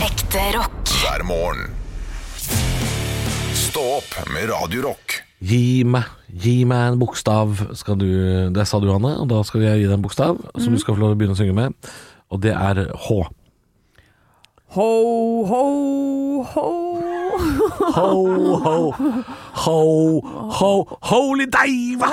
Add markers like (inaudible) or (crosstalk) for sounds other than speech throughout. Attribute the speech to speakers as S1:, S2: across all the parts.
S1: Ekte rock.
S2: hver morgen. Stå opp med Radio Rock.
S3: Gi meg, gi meg en bokstav, skal du Det sa du, Hanne, og da skal jeg gi deg en bokstav som du skal få lov til å begynne å synge med. Og det er H.
S4: Ho, ho, ho.
S3: Ho, ho, ho, ho, holy deiva!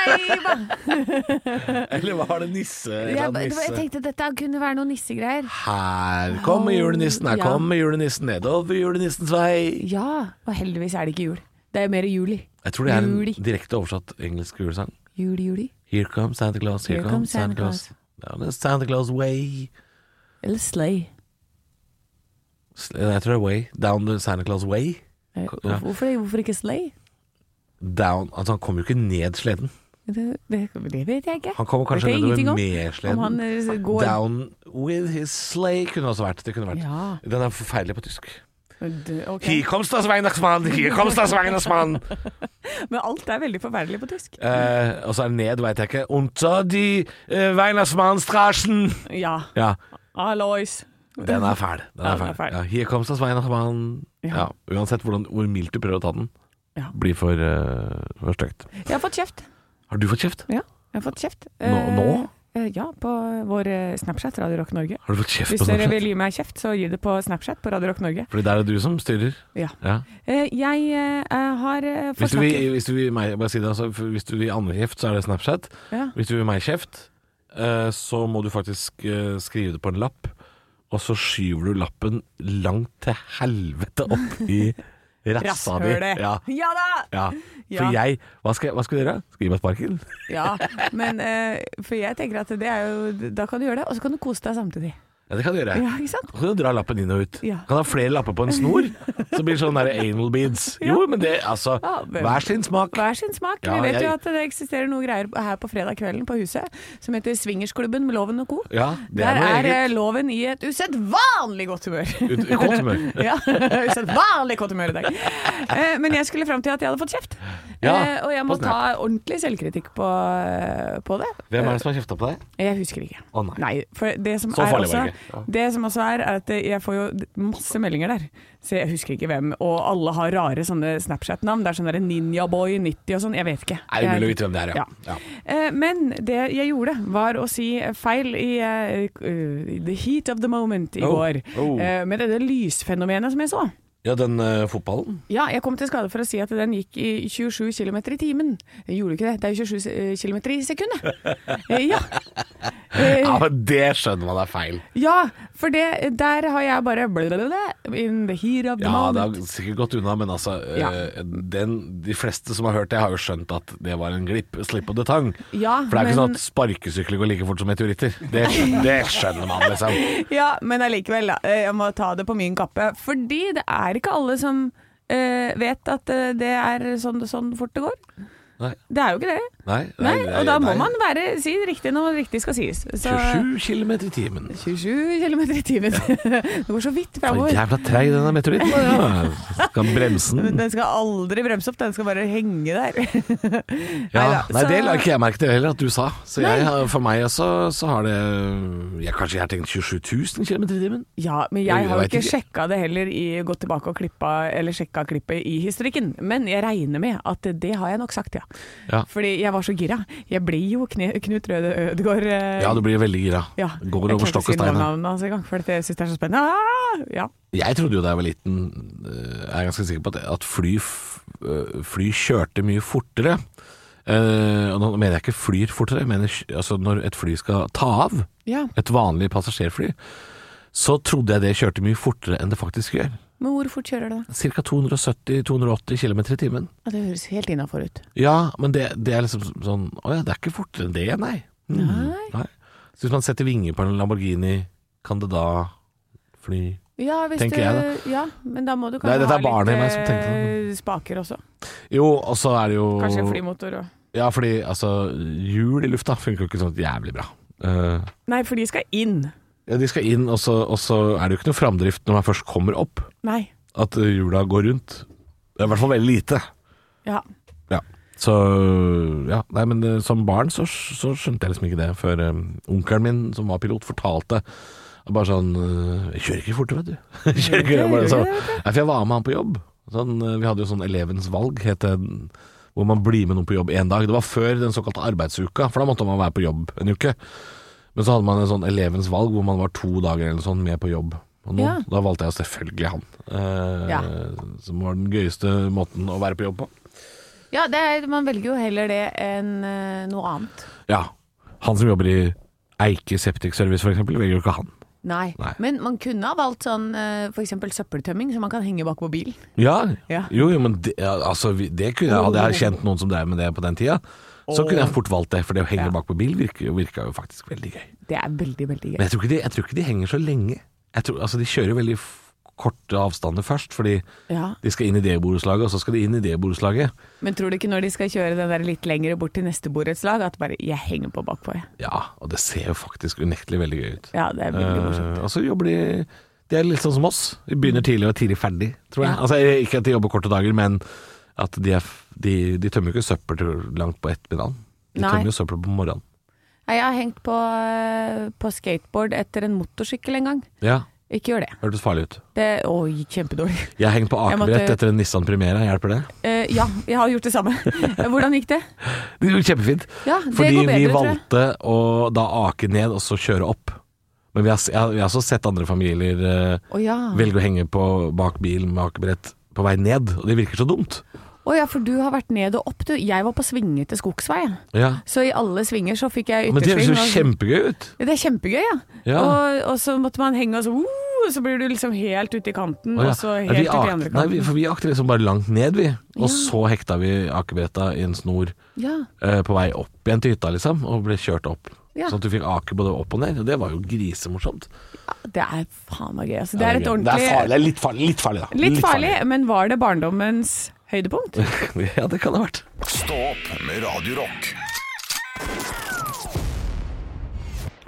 S5: Jeg, ba-
S3: (laughs) Eller var det nisse?
S5: jeg, ba- jeg tenkte dette kunne være noen nissegreier.
S3: Her kommer julenissen, her
S5: Ja.
S3: kommer julenissen nedover julenissens vei.
S5: Ja, og heldigvis er det ikke jul. Det er mer juli.
S3: Jeg tror det er
S5: Juli.
S3: en direkte oversatt engelsk julesang.
S5: Juli, juli.
S3: Here comes Santa Claus, here, comes Santa Claus. Down the Santa Claus way.
S5: Eller slay.
S3: Sl- Jeg tror det er way. Down the Santa Claus way.
S5: Eh,
S3: Ja.
S5: Hvorfor, hvorfor ikke slay?
S3: Down, altså han kommer jo ikke ned sleden.
S5: Det, det, det vet jeg ikke.
S3: Han kommer kanskje
S5: Vet jeg ingenting
S3: nedover med
S5: om. Om han
S3: sleden.
S5: eh, går
S3: Down with his sleigh kunne også vært. Det kunne vært.
S5: Ja.
S3: Den er forferdelig på tysk.
S5: D- ok.
S3: Here comes das Weihnachtsmann, here comes das
S5: (laughs)
S3: Weihnachtsmann.
S5: Men alt er veldig forferdelig på tysk.
S3: Eh, og så er det ned, veit jeg ikke. Unter die uh, Weihnachtsmannstrassen.
S5: Ja.
S3: Ja,
S5: Alois.
S3: den er fæl. Den
S5: Ja,
S3: er
S5: den er
S3: fæl.
S5: fæl.
S3: Ja, here comes das Weihnachtsmann.
S5: Ja.
S3: Ja, uansett hvordan, hvor mildt du prøver å ta den,
S5: Ja.
S3: blir for, uh, for stygt.
S5: Jeg har fått kjeft.
S3: Har du fått kjeft?
S5: Ja, jeg har fått kjeft.
S3: Nå- nå?
S5: Eh, eh, Ja, på vår eh, Snapchat Radio Rock Norge.
S3: Har du fått kjeft
S5: Hvis
S3: på
S5: dere
S3: Snapchat?
S5: vil gi meg kjeft, så gi det på Snapchat på Radio Rock Norge.
S3: Fordi der er det du som styrer?
S5: Ja.
S3: Ja.
S5: Eh, Jeg eh, eh, har eh,
S3: Hvis
S5: fått
S3: du vil,
S5: snakke
S3: hvis du vil meg, bare si det, altså, for hvis du vil andre kjeft, så er det Snapchat.
S5: ja.
S3: Hvis du vil meg kjeft, eh, så må du faktisk eh, skrive det på en lapp, og så skyver du lappen langt til helvete opp i
S5: (laughs)
S3: rassa di.
S5: Rasshølet.
S3: Ja,
S5: Ja da!
S3: ja. For
S5: Ja.
S3: jeg Hva skal, hva skal dere? Skal jeg gi meg sparken?
S5: Ja, men eh, for jeg tenker at det er jo Da kan du gjøre det, og så kan du kose deg samtidig.
S3: Ja, det kan du gjøre.
S5: Ja, ikke sant?
S3: Så kan du dra lappen inn og ut.
S5: Ja.
S3: Kan ha flere lapper på en
S5: (laughs)
S3: snor, så blir det sånn der anal beads. Jo, men det, altså
S5: Ja, men-
S3: Hver sin smak.
S5: Hver sin smak.
S3: Ja,
S5: Vi vet jo
S3: jeg-
S5: at det eksisterer noe greier her på fredag kvelden på huset som heter Swingersklubben med Loven og co.
S3: Ja, det
S5: Der
S3: er noe
S5: er eh,
S3: eget.
S5: loven i et usedvanlig godt humør. (laughs)
S3: Ut- i Godt humør.
S5: ja, usedvanlig godt humør i dag. Eh, Men jeg skulle fram til at jeg hadde fått kjeft.
S3: Ja,
S5: Eh, og jeg
S3: på
S5: må
S3: Snap.
S5: ta ordentlig selvkritikk på, eh, på det.
S3: Hvem er det som har kjefta på deg?
S5: Jeg husker ikke.
S3: Å, nei.
S5: for det som,
S3: Så
S5: er
S3: farlig
S5: også,
S3: var det ikke. Ja.
S5: det som også er, er at jeg får jo masse meldinger der, så jeg husker ikke hvem. Og alle har rare sånne Snapchat-navn. Det er sånn der Ninjaboy90 og sånn. Jeg vet ikke.
S3: Er det mulig å vite hvem det er, ja. ja.
S5: Eh, Men det jeg gjorde var å si feil i eh, eh, the heat of the moment i
S3: Oh.
S5: går.
S3: Oh.
S5: eh, Med dette lysfenomenet som jeg så.
S3: Ja, den eh, fotballen.
S5: Ja, jeg kom til skade for å si at den gikk i 27 km i timen. Jeg gjorde ikke det. Det er jo 27 km i sekundet.
S3: (laughs)
S5: Eh, Ja. Eh,
S3: Ja, men Det skjønner man er feil.
S5: Ja, for det, der har jeg bare blablabla, In the heat of the
S3: Ja, Det
S5: moment.
S3: har sikkert gått unna, men altså eh,
S5: Ja.
S3: den, De fleste som har hørt det, har jo skjønt at det var en glipp. Slipp of the tongue.
S5: Ja,
S3: For det er ikke sånn
S5: men-
S3: at sparkesykler går like fort som meteoritter. Det, det skjønner man, liksom.
S5: Ja, men allikevel, da. Eh, Jeg må ta det på min kappe. Fordi det er ikke alle som eh, vet at eh, det er sånn, sånn fort det går.
S3: Nei.
S5: Det er jo ikke det.
S3: Nei,
S5: Nei, og da må
S3: nei.
S5: man være, si det riktig når det riktig skal sies. Så,
S3: 27 km i timen.
S5: 27 km i timen. (laughs) det går så vidt
S3: Så
S5: framover.
S3: jævla treig den der
S5: (laughs)
S3: meteoritten var. Ja. Skal bremse
S5: Men
S3: den.
S5: Den skal aldri bremse opp, den skal bare henge der.
S3: Ja,
S5: Neida,
S3: nei,
S5: så-
S3: det la ikke jeg merke til heller, at du sa. Så
S5: Nei.
S3: jeg, har- for meg også, så har det jeg, Kanskje jeg har tenkt 27 000 km i timen?
S5: Ja, men
S3: Jeg
S5: jeg har jo
S3: vet
S5: ikke
S3: ikke.
S5: sjekka det heller i gått tilbake og klippa, eller sjekka klippet i historikken. Men jeg regner med at det har jeg nok sagt, ja.
S3: Ja.
S5: Fordi jeg var så gira. Jeg blir jo Kne Knut Røde Ødegård. eh,
S3: Ja, du blir veldig gira.
S5: ja.
S3: Går over stokk og
S5: Jeg klarte ikke å si
S3: stein.
S5: navnet hans engang, for jeg syns det er så spennende. Ah! Ja.
S3: Jeg trodde jo da jeg var liten, eh, jeg er ganske sikker på at, at fly, f- eh, fly kjørte mye fortere. Eh, og nå mener jeg ikke flyr fortere, jeg mener sk- altså når et fly skal ta av,
S5: ja.
S3: et vanlig passasjerfly, så trodde jeg det kjørte mye fortere enn det faktisk gjør.
S5: Men hvor fort kjører du da?
S3: Cirka 270-280 km i timen.
S5: Ja, Det høres helt innafor ut.
S3: Ja, men det, det er liksom sånn Å ja, det er ikke fortere enn det, nei. Mm,
S5: Nei.
S3: Så hvis man setter vinger på en Lamborghini, kan det da fly
S5: Ja, hvis
S3: Tenker
S5: du,
S3: jeg
S5: Ja, men da må du
S3: Nei,
S5: kanskje
S3: dette er
S5: ha
S3: barnet i
S5: litt
S3: meg som tenkte det,
S5: eh, spaker også.
S3: Jo, og så er det jo
S5: Kanskje en flymotor og
S3: Ja, fordi altså, hjul i lufta funker jo ikke sånn jævlig bra. Eh,
S5: Nei, for de skal inn.
S3: ja, de skal inn, og så, og så er det jo ikke noe framdrift når man først kommer opp.
S5: Nei.
S3: At eh, hjula går rundt. Det er i hvert fall veldig lite.
S5: Ja.
S3: Ja. Så ja, nei, men eh, som barn så, så skjønte jeg liksom ikke det før eh, onkelen min, som var pilot, fortalte Bare sånn eh, Jeg kjører ikke fortere, vet du. (laughs) Jeg kjører ikke, jeg bare, så, Nei, for jeg var med han på jobb. Sånn, eh, vi hadde jo sånn elevens valg, het det. Hvor man blir med noen på jobb én dag. Det var før den såkalte arbeidsuka, for da måtte man være på jobb en uke. Men så hadde man en sånn elevens valg hvor man var to dager eller sånn med på jobb. Og nå,
S5: Ja.
S3: Da valgte jeg selvfølgelig han. Eh,
S5: Ja.
S3: Som var den gøyeste måten å være på jobb på.
S5: Ja, det er, man velger jo heller det enn eh, noe annet.
S3: Ja. Han som jobber i Eike Septikservice f.eks., velger jo ikke han.
S5: Nei.
S3: Nei.
S5: Men man kunne ha valgt sånn eh, for eksempel søppeltømming, som man kan henge bak på bilen.
S3: Ja,
S5: Ja.
S3: Jo, jo, men det, ja, altså, vi- det kunne jeg, hadde jeg kjent noen som drev med det på den tida, så kunne jeg fort valgt det. For det å henge
S5: Ja.
S3: bak på bil virka jo, virka jo faktisk veldig gøy.
S5: Det er veldig, veldig
S3: Men
S5: gøy.
S3: jeg tror ikke de, jeg tror ikke de henger så lenge. Jeg tror, altså, de kjører jo veldig f- korte avstander først, fordi
S5: Ja.
S3: de skal inn i det borettslaget, og så skal de inn i det borettslaget.
S5: Men tror du ikke når de skal kjøre den der litt lengre bort til neste borettslag, at bare 'jeg henger på bakpå', jeg.
S3: Ja, og det ser jo faktisk unektelig veldig gøy ut.
S5: Ja, det er veldig morsomt.
S3: Eh, og så jobber de De er litt sånn som oss. De begynner tidlig og er tidlig ferdig, tror jeg.
S5: Ja.
S3: Altså, ikke at de jobber korte dager, men at de, er, f- de, de tømmer jo ikke søppel til langt på ettermiddagen. De
S5: Nei.
S3: tømmer jo søppel på morgenen.
S5: Nei, Jeg har hengt på, eh, på skateboard etter en motorsykkel en gang.
S3: Ja,
S5: Ikke gjør det.
S3: hørtes farlig ut.
S5: Det Oi, kjempedårlig. (laughs)
S3: Jeg henger på
S5: Jeg
S3: akebrett
S5: måtte-
S3: etter en Nissan Primera, hjelper det?
S5: Eh, ja, jeg har gjort
S3: (laughs)
S5: det samme. Hvordan gikk det?
S3: Det går kjempefint.
S5: Ja, det
S3: Fordi
S5: går bedre,
S3: vi
S5: tror jeg.
S3: valgte å da ake ned og så kjøre opp. Men vi har, s- jeg, har- jeg har også sett andre familier eh,
S5: Å ja.
S3: velge å henge på bak bil med akebrett på vei ned, og det virker så dumt.
S5: Å ja, for du har vært ned og opp, du. Jeg var på svingete skogsvei. jeg.
S3: Ja.
S5: Så i alle svinger så fikk jeg
S3: Men det høres
S5: yttersving.
S3: jo
S5: og-
S3: kjempegøy ut.
S5: Ja, Det er kjempegøy, ja.
S3: Ja.
S5: Og, og så måtte man henge og så, uh, så blir du liksom helt ute i kanten,
S3: Å ja.
S5: og så
S3: Nei, vi
S5: helt ut i
S3: ak-
S5: andre
S3: Nei,
S5: kanten.
S3: vi, for vi akte liksom bare langt ned, vi. Og så hekta vi akebretta i en snor
S5: Ja,
S3: eh, på vei opp igjen til hytta, liksom, og ble kjørt opp.
S5: Ja.
S3: Sånn at du fikk ake både opp og ned. Og det var jo grisemorsomt.
S5: det er faen meg gøy. Altså, det er et
S3: gøy.
S5: ordentlig
S3: det er, farlig, det er litt farlig, litt farlig, da.
S5: Litt farlig, men var det barndommens høydepunkt?
S3: farlig. (laughs) ja, det kan det ha vært.
S2: Stå opp med Radio Rock.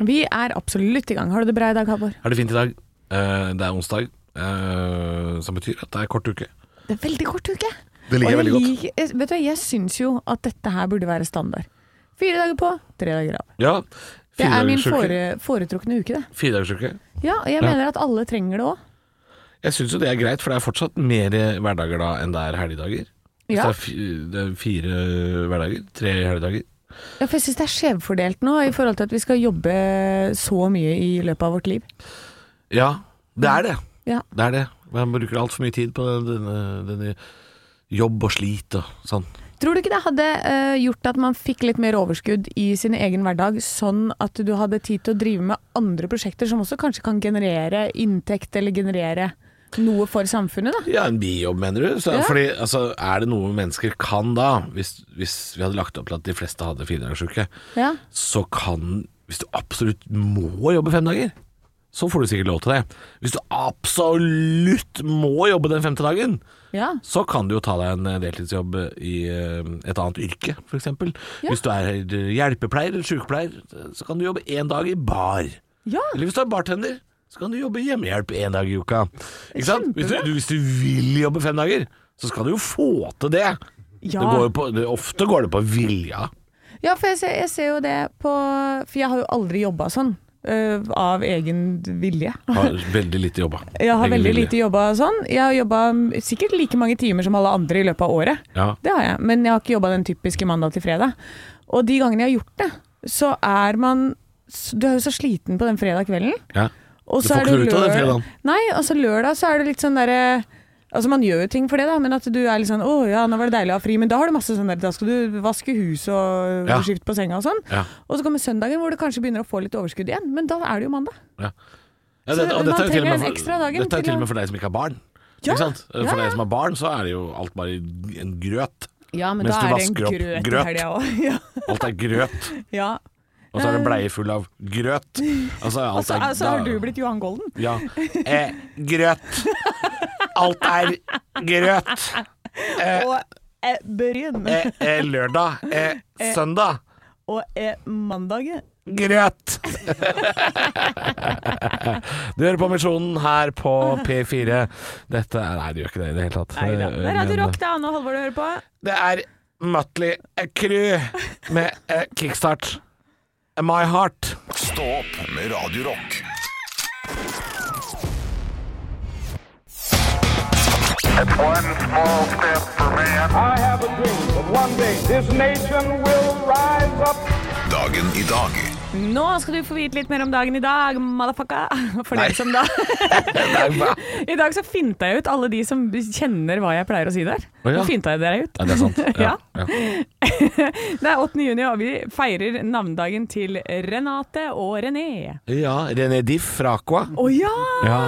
S5: Vi er absolutt i gang. Har du det bra i dag, Halvor?
S3: Er det fint i dag? Eh, det er onsdag, eh, som betyr at det er kort uke.
S5: Det er veldig kort uke.
S3: Det liker jeg veldig godt.
S5: godt. eh, Vet du, hva, jeg syns jo at dette her burde være standard. Fire dager på, tre dager av.
S3: Ja.
S5: Det er min
S3: firedagersuke.
S5: fore, foretrukne uke, det.
S3: Firedagersuke.
S5: Ja, og jeg mener at alle trenger det òg.
S3: Jeg syns jo det er greit, for det er fortsatt mer hverdager da enn det er helgedager. Hvis
S5: Ja.
S3: det, er fi- det er fire hverdager, tre helgedager.
S5: Ja, for jeg syns det er skjevfordelt nå, i forhold til at vi skal jobbe så mye i løpet av vårt liv.
S3: Ja, det er det.
S5: Ja.
S3: Det er det. Man bruker altfor mye tid på denne, denne jobb og slit og sånn.
S5: Tror du ikke det hadde eh, gjort at man fikk litt mer overskudd i sin egen hverdag, sånn at du hadde tid til å drive med andre prosjekter som også kanskje kan generere inntekt, eller generere noe for samfunnet, da?
S3: Ja, en bijobb, mener du? Så,
S5: Ja.
S3: Fordi, altså, er det noe mennesker kan da, hvis, hvis vi hadde lagt opp til at de fleste hadde firedagersuke,
S5: Ja.
S3: så kan Hvis du absolutt må jobbe fem dager, så får du sikkert lov til det. Hvis du absolutt må jobbe den femte dagen,
S5: ja.
S3: så kan du jo ta deg en eh, deltidsjobb i eh, et annet yrke, f.eks. Hvis du er eh, hjelpepleier eller sykepleier, eh, så kan du jobbe én dag i bar.
S5: Ja.
S3: Eller hvis du er bartender, så kan du jobbe hjemmehjelp én dag i uka. Ikke sant? Hvis du,
S5: Kjempebra.
S3: du, hvis du vil jobbe fem dager, så skal du jo få til det.
S5: Ja.
S3: det, går jo på, det ofte går det på vilja.
S5: Ja, for jeg ser, jeg ser jo det på For jeg har jo aldri jobba sånn. øh, av egen vilje. (laughs)
S3: Har veldig lite jobba.
S5: Jeg har
S3: Egen
S5: veldig
S3: vilje.
S5: lite jobba sånn. Jeg har jobba sikkert like mange timer som alle andre i løpet av året.
S3: Ja.
S5: Det har jeg, men jeg har ikke jobba den typiske mandag til fredag. Og de gangene jeg har gjort det, så er man s- Du er jo så sliten på den fredag kvelden.
S3: Ja.
S5: Og
S3: Du
S5: så
S3: får
S5: er
S3: ikke noe ut av den fredagen.
S5: Nei, altså lørdag så er det litt sånn derre Altså Man gjør jo ting for det, da, men at du er litt sånn 'Å ja, nå var det deilig å ha fri', men da har du masse sånn der Da skal du vaske hus og
S3: Ja.
S5: skifte på senga og sånn.
S3: Ja.
S5: Og så kommer søndagen hvor du kanskje begynner å få litt overskudd igjen, men da er det jo mandag.
S3: Ja,
S5: Så
S3: dette, og dette
S5: man
S3: er jo til og
S5: trenger
S3: med
S5: den
S3: for-
S5: ekstra dagen
S3: Dette er
S5: til
S3: til og
S5: å-
S3: med for deg som ikke har barn.
S5: Ja,
S3: Ikke sant? Eh, For
S5: ja, ja.
S3: deg som har barn, så er det jo alt bare en grøt.
S5: Ja, men
S3: Mens
S5: da
S3: du
S5: er det en
S3: vasker opp
S5: grøt, i
S3: grøt.
S5: helga òg. (laughs) Ja.
S3: Alt er grøt.
S5: ja.
S3: Og så er det bleie full av grøt. Altså, alt
S5: Så
S3: er,
S5: altså, har du blitt Johan Golden?
S3: Ja. Eh, grøt. Alt er grøt. Eh,
S5: Og eh, bryn.
S3: eh, eh, lørdag. Eh, søndag.
S5: Og eh, mandag.
S3: Grøt! du hører på Misjonen her på P4. Dette er Nei, det gjør ikke det i det hele tatt. Eh,
S5: Neida. Det er Radio
S3: Men-
S5: Rock, det er Anne og Halvor du hører på.
S3: Det er Mutley Crew med
S5: (laughs)
S3: eh, kickstart. My Heart.
S2: Stå opp med Radio Rock.
S1: One small step for man.
S6: I have a dream that one day this nation will rise up.
S2: Dagen i dag
S5: Nå skal du få vite litt mer om dagen i dag, motherfucka. (laughs) For
S3: Nei.
S5: dere som da (laughs) I dag så finta jeg ut alle de som kjenner hva jeg pleier å si der.
S3: Å, ja.
S5: Nå finta jeg dere ut.
S3: Ja, det er sant.
S5: Ja.
S3: ja.
S5: Det er 8. juni, og vi feirer navnedagen til Renate og René.
S3: ja René Diff fra Aqua.
S5: Å ja!
S3: Ja.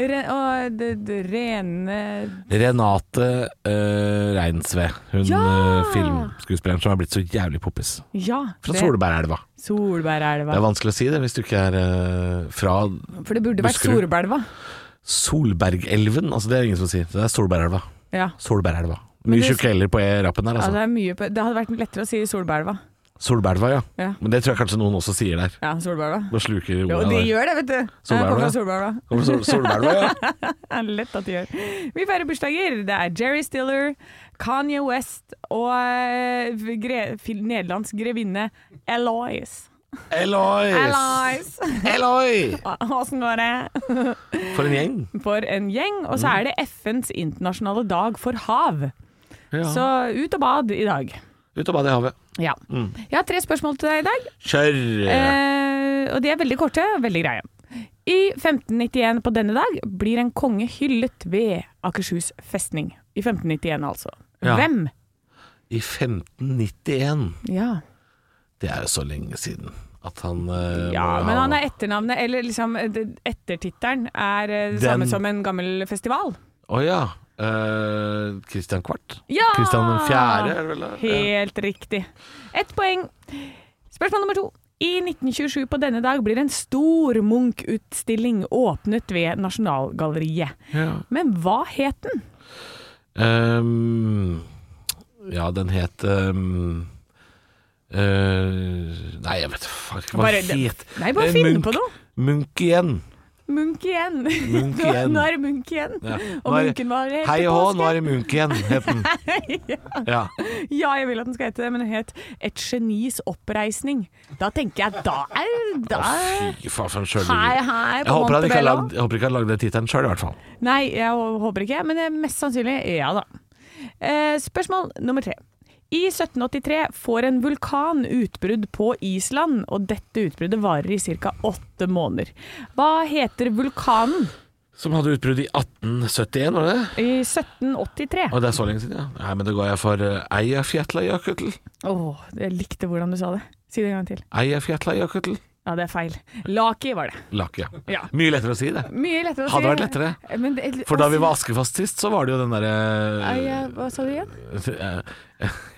S5: Re og det, det rene
S3: Renate eh, Reinsve. Hun
S5: Ja!
S3: eh, filmskuespilleren som har blitt så jævlig poppis.
S5: Ja.
S3: Fra
S5: det-
S3: Solbergelva. Det er
S5: Solbergelva.
S3: vanskelig å si det hvis du ikke er eh, fra
S5: For det burde vært
S3: Buskerud.
S5: Solbergelva.
S3: Solbergelven. Altså, det er ingen som sier. Det er Solbergelva.
S5: Ja.
S3: Solbergelva.
S5: Men
S3: Mye
S5: det-
S3: tjukke l-er på e-rappen der,
S5: Ja, det,
S3: altså.
S5: er mye på, det hadde vært lettere å si Solbergelva.
S3: Solbergelva, ja.
S5: Ja.
S3: Men det tror jeg kanskje noen også sier der.
S5: Ja, Solbergelva.
S3: Nå sluker
S5: Jo,
S3: ordet
S5: de
S3: der.
S5: gjør det, vet du. Jeg
S3: Solbergelva,
S5: kommer
S3: ja.
S5: fra Solbergelva.
S3: Kommer Sol- Solbergelva, ja.
S5: (laughs) Det er lett at de gjør. Vi feirer bursdager. Det er Jerry Stiller, Kanye West og eh, gre fil- nederlandsk grevinne Eloise.
S3: Elois!
S5: Eloise!
S3: Eloi!
S5: Åssen går det?
S3: For en gjeng.
S5: For en gjeng. Og så er det FNs internasjonale dag for hav. Så
S3: Ja.
S5: ut og bad i dag.
S3: Ut og bad i havet.
S5: Ja.
S3: Mm.
S5: Jeg har tre spørsmål til deg i dag,
S3: Kjør!
S5: eh, og de er veldig korte og veldig greie. I 1591 på denne dag blir en konge hyllet ved Akershus festning. I 1591 altså.
S3: Ja.
S5: Hvem?
S3: I 1591.
S5: Ja.
S3: Det er jo så lenge siden at han eh,
S5: Ja,
S3: må
S5: men
S3: ha-
S5: han er etternavnet, eller liksom det- ettertittelen, er eh, det
S3: Den-
S5: samme som en gammel festival.
S3: Å ja. eh, Christian Kvart?
S5: Ja!
S3: Christian
S5: Ah,
S3: den fjerde, er det vel? Ja.
S5: Helt riktig. Ett poeng. Spørsmål nummer to. I 1927 på denne dag blir en stor Munch-utstilling åpnet ved Nasjonalgalleriet.
S3: Ja.
S5: Men hva het den?
S3: Ehm, ja, den het ehm, eh, Nei, jeg vet faktisk ikke hva
S5: Bare-
S3: den het.
S5: Nei, bare
S3: Eh,
S5: finn
S3: Munch-
S5: på noe.
S3: Munch igjen.
S5: Munch igjen. (laughs)
S3: Munch
S5: Nå-
S3: igjen.
S5: Nå er det Munch igjen.
S3: Ja.
S5: (laughs) Og
S3: Nå er-
S5: Munchen var helt
S3: Hei
S5: til
S3: og hå,
S5: påske.
S3: nå er det Munch igjen, het den. Ja.
S5: (laughs) Ja, jeg vil at den skal hete det, men den het Et genis oppreisning. Da tenker jeg, da er da
S3: Å, fy faen, for en
S5: Hei,
S3: sjølureri.
S5: hei
S3: Jeg
S5: på
S3: håper han ikke har
S5: Montebello.
S3: lagd- jeg håper ikke han lagde den tittelen sjøl, i hvert fall.
S5: Nei, jeg hå- håper ikke, men det er mest sannsynlig ja da. Eh, spørsmål nummer tre. I 1783 får en vulkan utbrudd på Island, og dette utbruddet varer i ca. åtte måneder. Hva heter vulkanen
S3: Som hadde utbrudd i 1871, var det det?
S5: i 1783?
S3: Og det er så lenge siden, ja. Nei, men det går jeg for eh, Eyjafjallajökull.
S5: Åh, jeg likte hvordan du sa det. Si det en gang til.
S3: Eyjafjallajökull.
S5: Ja, det er feil. Laki var det.
S3: Lake.
S5: Ja.
S3: Mye lettere å si det.
S5: Mye lettere å si.
S3: Hadde vært lettere.
S5: Men det-
S3: For da vi var Askefast sist, så var det jo den derre eh,
S5: Ai, ja, Hva sa du igjen?
S3: (laughs)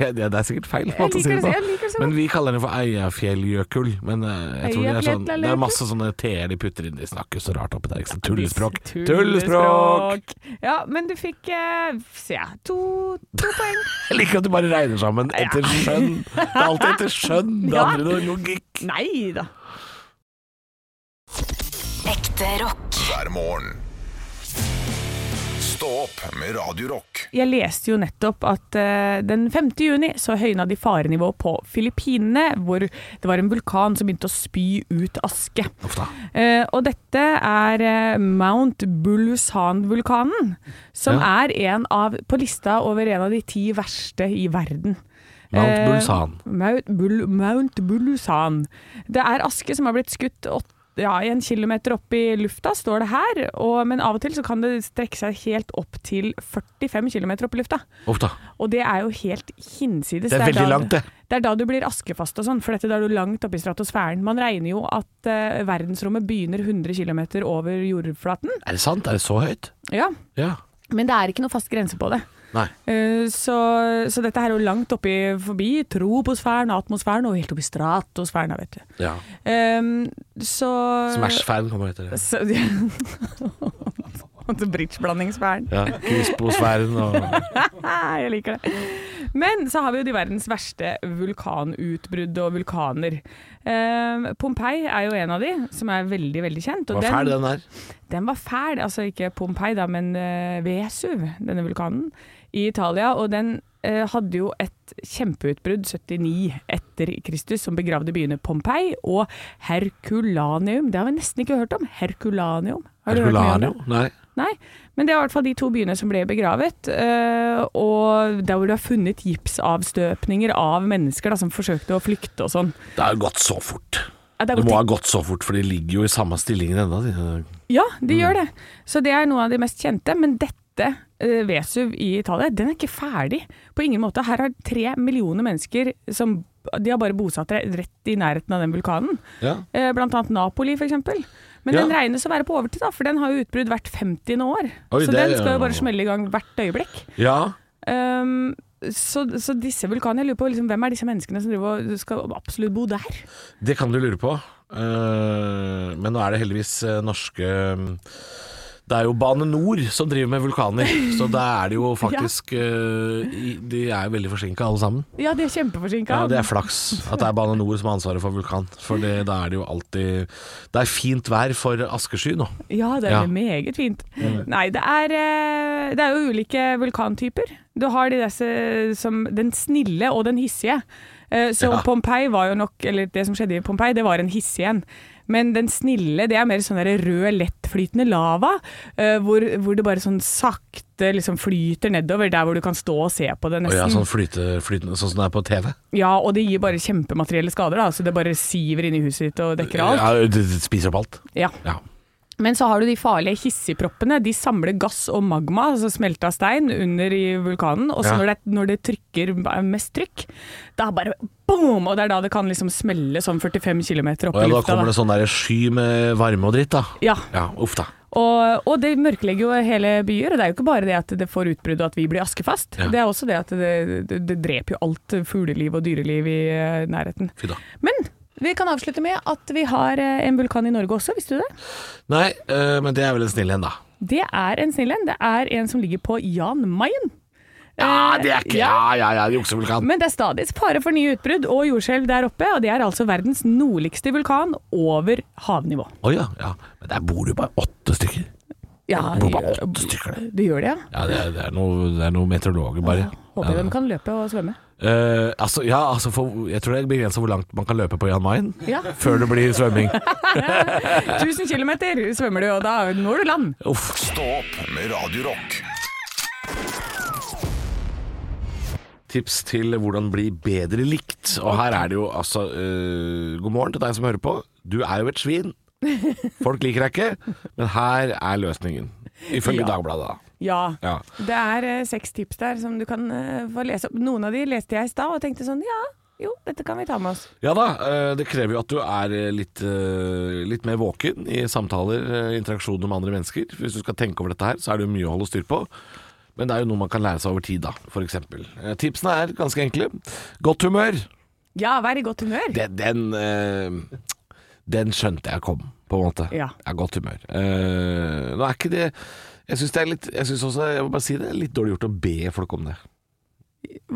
S3: Ja, det er sikkert feil
S5: Jeg
S3: måte å si det
S5: liker det,
S3: på.
S5: jeg liker det så
S3: Men
S5: godt.
S3: vi kaller den for Eiafjelljökull. Men eh, jeg tror det er sånn Det er
S5: Eyjafjallajökull.
S3: masse sånne t-er de putter inn. De snakker jo så rart oppi der. Ikke sant? Tullespråk. Tullespråk!
S5: Tullespråk! Ja, men du fikk eh, se, to, to poeng.
S3: (laughs) Jeg liker at du bare regner sammen etter skjønn. Det er alltid etter skjønn. Det
S5: Ja.
S3: andre er noe logikk.
S5: Nei da.
S7: Ekte rock.
S2: hver morgen. Stå opp med Radio Rock.
S5: Jeg leste jo nettopp at eh, den 5. juni så høyna de farenivået på Filippinene, hvor det var en vulkan som begynte å spy ut aske.
S3: Uff da.
S5: Eh, og dette er eh, Mount Bulusan-vulkanen, som
S3: Ja.
S5: er en av, på lista over en av de ti verste i verden.
S3: Mount
S5: Eh,
S3: Bulsan.
S5: Mount, Bul Mount Bulusan. Det er aske som har blitt skutt åt, ja, en kilometer opp i lufta, står det her. Og, men av og til så kan det strekke seg helt opp til 45 kilometer opp i lufta.
S3: Uff da.
S5: Og det er jo helt hinsides.
S3: Det er veldig langt, det.
S5: Det er da du blir askefast og sånn, for dette da er du langt oppe i stratosfæren. Man regner jo at eh, verdensrommet begynner 100 km over jordflaten.
S3: Er det sant? Er det så høyt?
S5: Ja,
S3: Ja.
S5: men det er ikke noe fast grense på det.
S3: Nei.
S5: Eh, Så, så dette her er jo langt oppi forbi troposfæren, atmosfæren og helt oppi stratosfæren, da, vet du.
S3: Ja.
S5: Ehm, så
S3: Smash-fan kommer etter det.
S5: (laughs) Så, (laughs) ja. Altså bridgeblandingssfæren.
S3: Ja. Krisposfæren (laughs) og
S5: Jeg liker det. Men så har vi jo de verdens verste vulkanutbrudd og vulkaner. Ehm, Pompeii er jo en av de, som er veldig, veldig kjent. og
S3: Hva fæl den er.
S5: den var fæl, altså ikke Pompeii da, men eh, Vesuv, denne vulkanen, i Italia. Og den eh, hadde jo et kjempeutbrudd 79 etter Kristus, som begravde byene Pompeii og Herculaneum. Det har vi nesten ikke hørt om. Herculaneum. Har du hørt mye om det?
S3: Herculano? Nei.
S5: Nei, Men det er i hvert fall de to byene som ble begravet, eh, og der hvor du har funnet gipsavstøpninger av mennesker da, som forsøkte å flykte og sånn.
S3: Det har jo gått så fort.
S5: Ja, det er
S3: Det må
S5: godt-
S3: ha gått så fort, for de ligger jo i samme stillingen ennå. de.
S5: Ja,
S3: Mm.
S5: de gjør det. Så det er noen av de mest kjente, men dette eh, Vesuv i Italia, den er ikke ferdig på ingen måte. Her har tre millioner mennesker som de har bare bosatt seg rett i nærheten av den vulkanen.
S3: Ja.
S5: Eh, Blant annet Napoli, for eksempel. Men
S3: Ja.
S5: den regnes å være på overtid, da, for den har jo utbrudd hvert 50. år.
S3: Oi,
S5: så
S3: det er
S5: den skal
S3: jo-
S5: jo bare smelle i gang hvert øyeblikk.
S3: ja.
S5: Um, så, så disse vulkanene, jeg lurer på liksom, hvem er disse menneskene som driver og skal absolutt bo der?
S3: Det kan du lure på. Eh, men nå er det heldigvis eh, norske Det er jo Bane Nor som driver med vulkaner, så da er det (laughs) jo faktisk eh, i- De er jo veldig forsinka alle sammen.
S5: Ja, de er kjempeforsinka.
S3: Ja, det er flaks at det er Bane Nor som har ansvaret for vulkan. For det, da er det jo alltid Det er fint vær for askesky nå.
S5: Ja, det er
S3: Ja.
S5: meget fint. Nei, det er, eh, det er jo ulike vulkantyper. Du har de disse som den snille og den hissige. Eh, Så
S3: Ja.
S5: Pompeii var jo nok, eller det som skjedde i Pompeii, det var en hissig en. Men den snille, det er mer sånn der rød, lettflytende lava, eh, hvor, hvor det bare sånn sakte liksom flyter nedover, der hvor du kan stå og se på det
S3: Og ja,
S5: nesten.
S3: sånn flyte, flytende, sånn som det er på TV.
S5: Ja, og det gir bare kjempematerielle skader, da, så det bare siver inn i huset ditt og dekker alt.
S3: Ja, det det spiser opp alt.
S5: Ja.
S3: Ja.
S5: Men så har du de farlige hissigproppene. De samler gass og magma, altså smelta stein, under i vulkanen. Og så
S3: Ja.
S5: når, det, når det trykker mest trykk, da bare boom! Og det er da det kan liksom smelle sånn 45 km opp
S3: Og ja,
S5: i
S3: da
S5: lufta.
S3: kommer
S5: Da.
S3: det sånn der sky med varme og dritt, da.
S5: Ja,
S3: Ja, uff da.
S5: og, og det mørklegger jo hele byer. Og det er jo ikke bare det at det får utbrudd og at vi blir askefast.
S3: Ja.
S5: Det er også det at det, det, det dreper jo alt fugleliv og dyreliv i eh, nærheten.
S3: Fy da.
S5: Men vi kan avslutte med at vi har eh, en vulkan i Norge også, visste du det?
S3: Nei, eh, men det er vel en snill en, da.
S5: Det er en snill en. Det er en som ligger på Jan Mayen.
S3: Ja,
S5: Eh,
S3: det er ikke Ja, ja, ja, juksevulkan.
S5: Men det er stadig fare for nye utbrudd og jordskjelv der oppe, og det er altså verdens nordligste vulkan over havnivå.
S3: Å ja, ja. Men der bor det jo bare åtte stykker.
S5: Ja,
S3: Det bor bare åtte stykker der.
S5: det gjør det, ja.
S3: Ja, det er, det er noen noe meteorologer, bare.
S5: Håper de kan løpe og svømme.
S3: Eh, altså, ja, altså for, jeg tror det er begrenset hvor langt man kan løpe på Jan Mayen
S5: Ja.
S3: før det blir svømming.
S5: 1000 kilometer svømmer du, og da når du land.
S3: Uff.
S2: Stå opp med Radio Rock.
S3: Tips til hvordan bli bedre likt. Og her er det jo altså eh, God morgen til deg som hører på. Du er jo et svin. Folk liker deg ikke, men her er løsningen. Ifølge
S5: Ja.
S3: Dagbladet, da.
S5: Ja.
S3: Ja.
S5: Det er eh, seks tips der som du kan eh, få lese opp. Noen av de leste jeg i stad og tenkte sånn ja, jo, dette kan vi ta med oss.
S3: Ja da, eh, det krever jo at du er eh, litt, eh, litt mer våken i samtaler, eh, interaksjoner med andre mennesker. Hvis du skal tenke over dette her, så er det jo mye å holde styr på. Men det er jo noe man kan lære seg over tid, da, f.eks. Tipsene er ganske enkle. Godt humør.
S5: Ja, vær i godt humør.
S3: Den, den, eh, den skjønte jeg kom, på en måte.
S5: Ja.
S3: Jeg er godt humør. Eh, nå er ikke det Jeg syns det er litt Jeg synes også, jeg må bare si det, er litt dårlig gjort å be folk om det.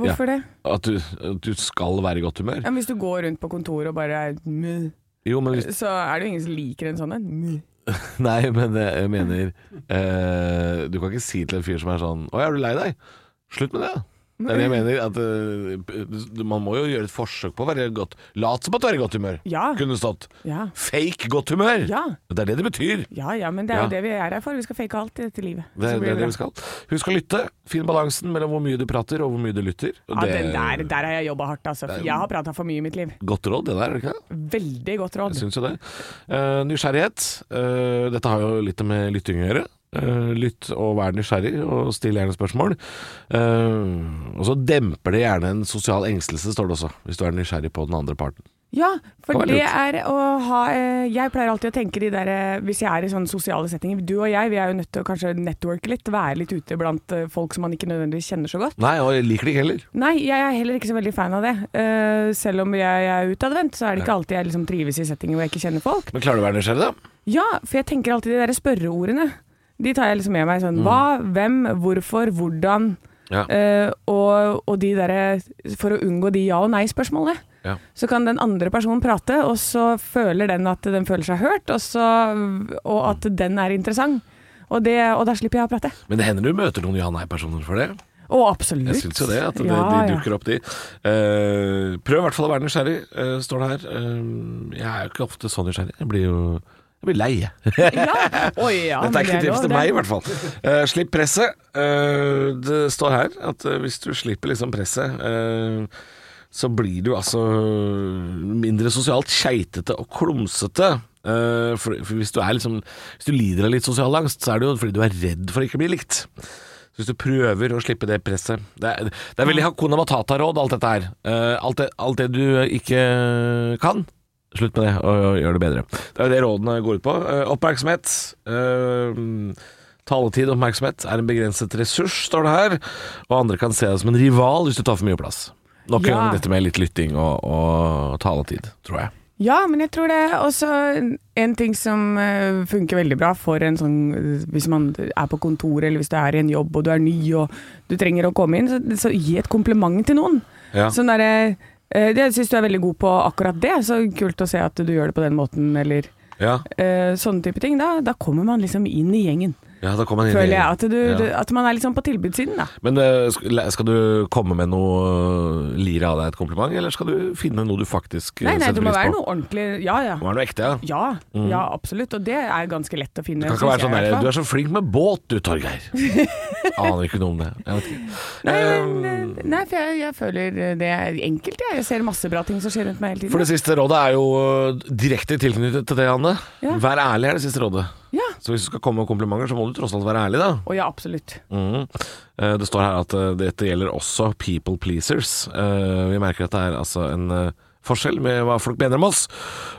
S5: Hvorfor det?
S3: At du, at du skal være i godt humør.
S5: Ja, men hvis du går rundt på kontoret og bare er mø,
S3: Jo, men hvis (laughs)
S5: så er det jo ingen som liker en sånn en. Mø.
S3: Nei, men jeg mener eh, Du kan ikke si til en fyr som er sånn Å, er du lei deg? Slutt med det. da.» Det er det jeg mener. At, eh, du- man må jo gjøre et forsøk på å være godt Lat som at du er i godt humør.
S5: Ja.
S3: Kunne stått
S5: Ja.
S3: fake godt humør.
S5: Ja.
S3: Det er det det betyr.
S5: ja ja, men det er jo
S3: Ja.
S5: det vi er her for. Vi skal fake alt i dette livet.
S3: Det
S5: Så
S3: er det,
S5: blir
S3: er det
S5: bra.
S3: vi skal. Husk å lytte. Finn balansen mellom hvor mye du prater og hvor mye du lytter. Og
S5: Ja,
S3: det
S5: den
S3: er
S5: der, der har jeg jobba hardt, altså. Jeg har prata for mye i mitt liv.
S3: godt råd, det der. er det Ikke? det?
S5: Veldig godt råd.
S3: Jeg syns jo det. Eh, nysgjerrighet. eh, dette har jo litt med lytting å gjøre. Eh, lytt og vær nysgjerrig, og still gjerne spørsmål. Eh, og så demper det gjerne en sosial engstelse, står det også, hvis du er nysgjerrig på den andre parten.
S5: Ja, for
S3: Kan være
S5: det
S3: lurt.
S5: er å ha eh, Jeg pleier alltid å tenke de der eh, Hvis jeg er i sånne sosiale settinger Du og jeg, vi er jo nødt til å kanskje networke litt. Være litt ute blant eh, folk som man ikke nødvendigvis kjenner så godt.
S3: Nei, og jeg liker det ikke heller.
S5: Nei, jeg er heller ikke så veldig fan av det. Eh, selv om jeg er utadvendt, så er det ikke alltid jeg liksom trives i settinger hvor jeg ikke kjenner folk.
S3: Men klarer du å være nysgjerrig, da?
S5: Ja, for jeg tenker alltid de derre spørreordene. De tar jeg liksom med meg sånn hva, hvem, hvorfor, hvordan.
S3: Mm. Ja.
S5: eh, og, og de derre For å unngå de ja- og nei-spørsmålene.
S3: Ja.
S5: Så kan den andre personen prate, og så føler den at den føler seg hørt, og, så, og at den er interessant. Og, det, og da slipper jeg å prate.
S3: Men det hender du møter noen ja-nei-personer for det.
S5: Å, absolutt.
S3: Jeg syns jo det, at det,
S5: Ja,
S3: de
S5: ja.
S3: dukker opp, de. Eh, prøv i hvert fall å være nysgjerrig, eh, står det her. Eh, jeg er jo ikke ofte så nysgjerrig. Jeg blir jo jeg Jeg blir lei.
S5: Ja. Oi, ja,
S3: Dette
S5: men
S3: er ikke
S5: det
S3: tips
S5: lov,
S3: til
S5: det.
S3: meg, i hvert fall. Eh, slipp presset. Eh, det står her at eh, hvis du slipper liksom presset, eh, så blir du altså mindre sosialt keitete og klumsete. Eh, for, for hvis, du er liksom, hvis du lider av litt sosial angst, så er det jo fordi du er redd for å ikke bli likt. Så Hvis du prøver å slippe det presset Det er, det er veldig Hakuna Matata-råd, alt dette her. Eh, alt, det, alt det du ikke kan, slutt med det og, og gjør det bedre. Det er jo det rådene går ut på. Eh, oppmerksomhet. eh, taletid og oppmerksomhet er en begrenset ressurs, står det her. Og andre kan se deg som en rival hvis du tar for mye plass. Nok en
S5: Ja.
S3: gang dette med litt lytting og, og taletid, tror jeg.
S5: Ja, men jeg tror det er også en ting som eh, funker veldig bra for en sånn eh, Hvis man er på kontoret, eller hvis du er i en jobb og du er ny og du trenger å komme inn, så, så gi et kompliment til noen.
S3: Ja.
S5: Sånn derre eh, Jeg syns du er veldig god på akkurat det, så kult å se at du gjør det på den måten, eller
S3: Ja,
S5: eh, sånne type ting. Da, da kommer man liksom inn i gjengen,
S3: ja da kom han inn i-
S5: føler jeg. At, du,
S3: Ja.
S5: du, at man er liksom på tilbudssiden, da.
S3: Men eh, sk- le- skal du komme med noe Lire av deg et kompliment, eller skal du finne noe du faktisk eh,
S5: Nei, nei,
S3: setter
S5: det må
S3: pris
S5: være
S3: på?
S5: noe ordentlig Ja, ja.
S3: Det må være noe ekte, ja.
S5: Ja, ja, absolutt. Og det er ganske lett å finne.
S3: Det kan ikke
S5: synes
S3: være sånn
S5: jeg i hvert
S3: der
S5: fall.
S3: Du er så flink med båt du, Torgeir.
S5: (laughs)
S3: Aner ikke noe om det. Jeg vet ikke.
S5: Nei,
S3: Ehm,
S5: men, eh, nei, for jeg, jeg føler det er enkelt. Jeg. jeg ser masse bra ting som skjer rundt meg hele tiden.
S3: For det siste rådet er jo øh, direkte tilknyttet til det, Anne.
S5: Ja.
S3: Vær ærlig er det siste rådet.
S5: Ja.
S3: Så hvis du skal komme med komplimenter, så må du tross alt være ærlig, da.
S5: Å ja, absolutt.
S3: Mhm. Eh, Det står her at eh, dette gjelder også people pleasers. Eh, Vi merker at det er altså en eh, forskjell med hva folk mener om oss,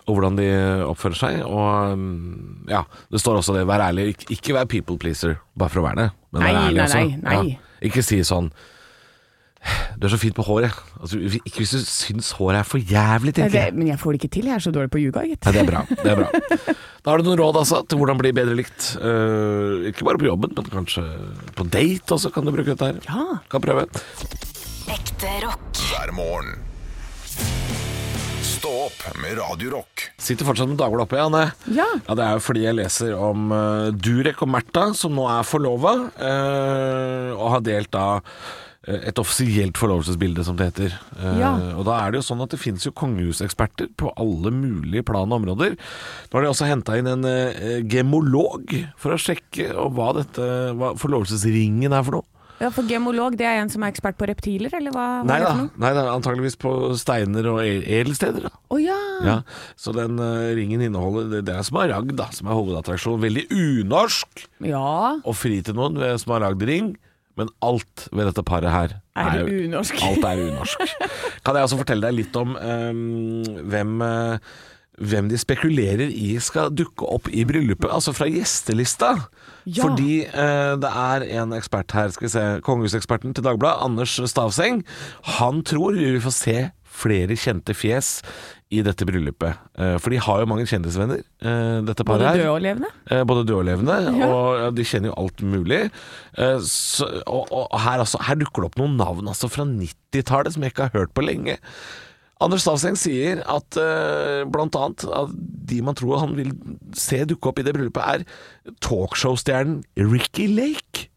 S3: og hvordan de øh, oppfører seg. Og mm, ja, det står også det, vær ærlig. Ik- Ikke vær people pleaser bare for å være det, men vær
S5: Nei,
S3: ærlig
S5: nei,
S3: også.
S5: nei, nei.
S3: Ja. Ikke si sånn Du er så fint på håret. Altså, ikke hvis du syns håret er for jævlig,
S5: Nei,
S3: tenker
S5: det,
S3: jeg.
S5: men jeg får det ikke til. Jeg er så dårlig på å ljuge, gitt.
S3: Nei, det er bra. det er bra Da har du noen råd altså til hvordan bli bedre likt. Eh, ikke bare på jobben, men kanskje på date også kan du bruke dette her.
S5: Ja.
S3: Kan prøve.
S7: Ekte rock.
S2: hver morgen. Stå opp med Radio Rock.
S3: Sitter fortsatt med Dagbladet oppe, Janne.
S5: Ja.
S3: Ja, Det er jo fordi jeg leser om eh, Durek og Märtha, som nå er forlova, eh, og har delt da eh, et offisielt forlovelsesbilde, som det heter. Eh,
S5: Ja.
S3: Og da er det jo sånn at det finnes jo kongehuseksperter på alle mulige plan og områder. Nå har de også henta inn en eh, gemolog for å sjekke og hva, dette, hva forlovelsesringen er for noe.
S5: ja, for gemolog, det er en som er ekspert på reptiler, eller hva? hva
S3: Nei
S5: er det
S3: da,
S5: for noe?
S3: nei da, antageligvis på steiner og e- edelsteder. Da.
S5: Å ja.
S3: Ja, så den eh, ringen inneholder det, det er smaragd, da, som er hovedattraksjonen. Veldig unorsk
S5: Ja.
S3: å fri til noen ved smaragdring, men alt ved dette paret her
S5: Er det
S3: jo-
S5: unorsk?
S3: Alt er
S5: (laughs)
S3: unorsk. kan jeg også fortelle deg litt om eh, hvem eh, hvem de spekulerer i skal dukke opp i bryllupet, altså fra gjestelista.
S5: Ja.
S3: Fordi eh, det er en ekspert her, skal vi se, kongehuseksperten til Dagbladet, Anders Stavseng. Han tror vi vil få se flere kjente fjes i dette bryllupet. Eh, for de har jo mange kjendisvenner, eh, dette paret
S5: Både
S3: her.
S5: døde og levende?
S3: Eh, Både døde og levende, og ja, de kjenner jo alt mulig. Eh, Så, og og her, altså, her dukker det opp noen navn altså, fra 90-tallet som jeg ikke har hørt på lenge. Anders Stavseng sier at eh, blant annet at de man tror han vil se dukke opp i det bryllupet, er talkshow-stjernen Ricky Lake.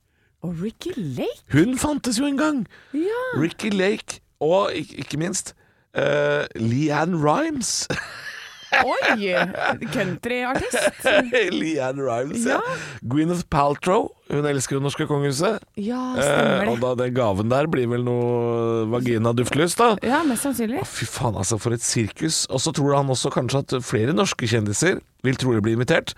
S5: Og Ricky Lake?
S3: Hun fantes jo en gang!
S5: Ja.
S3: Ricky Lake, og ik- ikke minst eh, Leanne Rhymes. (laughs)
S5: Oi! Countryartist?
S3: Leanne Rhymes, ja. Gwyneth Paltrow. Hun elsker jo det norske kongehuset.
S5: Ja,
S3: Eh,
S5: stemmer
S3: og
S5: det.
S3: da den gaven der blir vel noe vagina-duftlys, da.
S5: Ja, mest sannsynlig.
S3: Fy faen, altså, for et sirkus. Og så tror han også kanskje at flere norske kjendiser vil trolig bli invitert.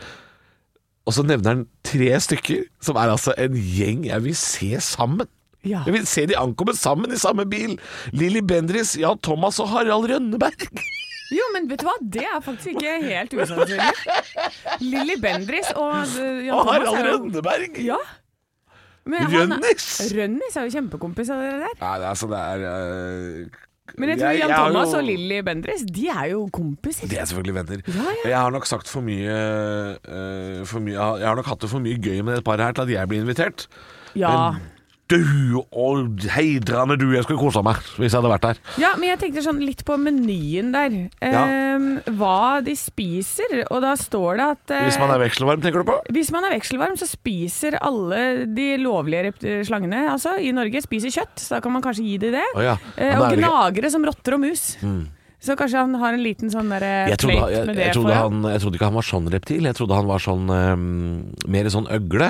S3: Og så nevner han tre stykker, som er altså en gjeng jeg vil se sammen.
S5: Ja.
S3: Jeg vil se de ankomme sammen i samme bil. Lilly Bendriss, Jan Thomas og Harald Rønneberg. (laughs)
S5: Jo, men vet du hva? Det er faktisk ikke helt usannsynlig. Lilly Bendris og eh, Jan
S3: Og
S5: Thomas
S3: Harald
S5: er jo
S3: Rønneberg!
S5: Ja. Men han-
S3: Rønnis!
S5: Rønnis er jo kjempekompis av dere der.
S3: Nei, det er altså, det er eh,
S5: Men jeg tror Jan
S3: har
S5: Thomas
S3: jo-
S5: og Lilly Bendriss, de er jo kompiser.
S3: De er selvfølgelig venner.
S5: Ja, ja.
S3: Jeg har nok sagt for mye, eh, for mye Jeg har nok hatt det for mye gøy med det paret her til at jeg blir invitert.
S5: Ja.
S3: Du og heidrende du, jeg skulle kosa meg hvis jeg hadde vært der.
S5: ja, men jeg tenkte sånn litt på menyen der.
S3: Ja.
S5: Ehm, hva de spiser, og da står det at eh,
S3: Hvis man er vekselvarm, tenker du på?
S5: hvis man er vekselvarm, så spiser alle de lovlige rept- slangene altså, i Norge spiser kjøtt, så da kan man kanskje gi dem det.
S3: Å ja.
S5: Eh,
S3: Men da er
S5: og
S3: det ikke-
S5: gnagere som rotter og mus. Så kanskje han har en liten sånn der eh,
S3: Jeg trodde,
S5: fløyt
S3: jeg,
S5: med det
S3: jeg, trodde
S5: for
S3: han, jeg trodde ikke han var sånn reptil. Jeg trodde han var sånn eh, mer sånn øgle.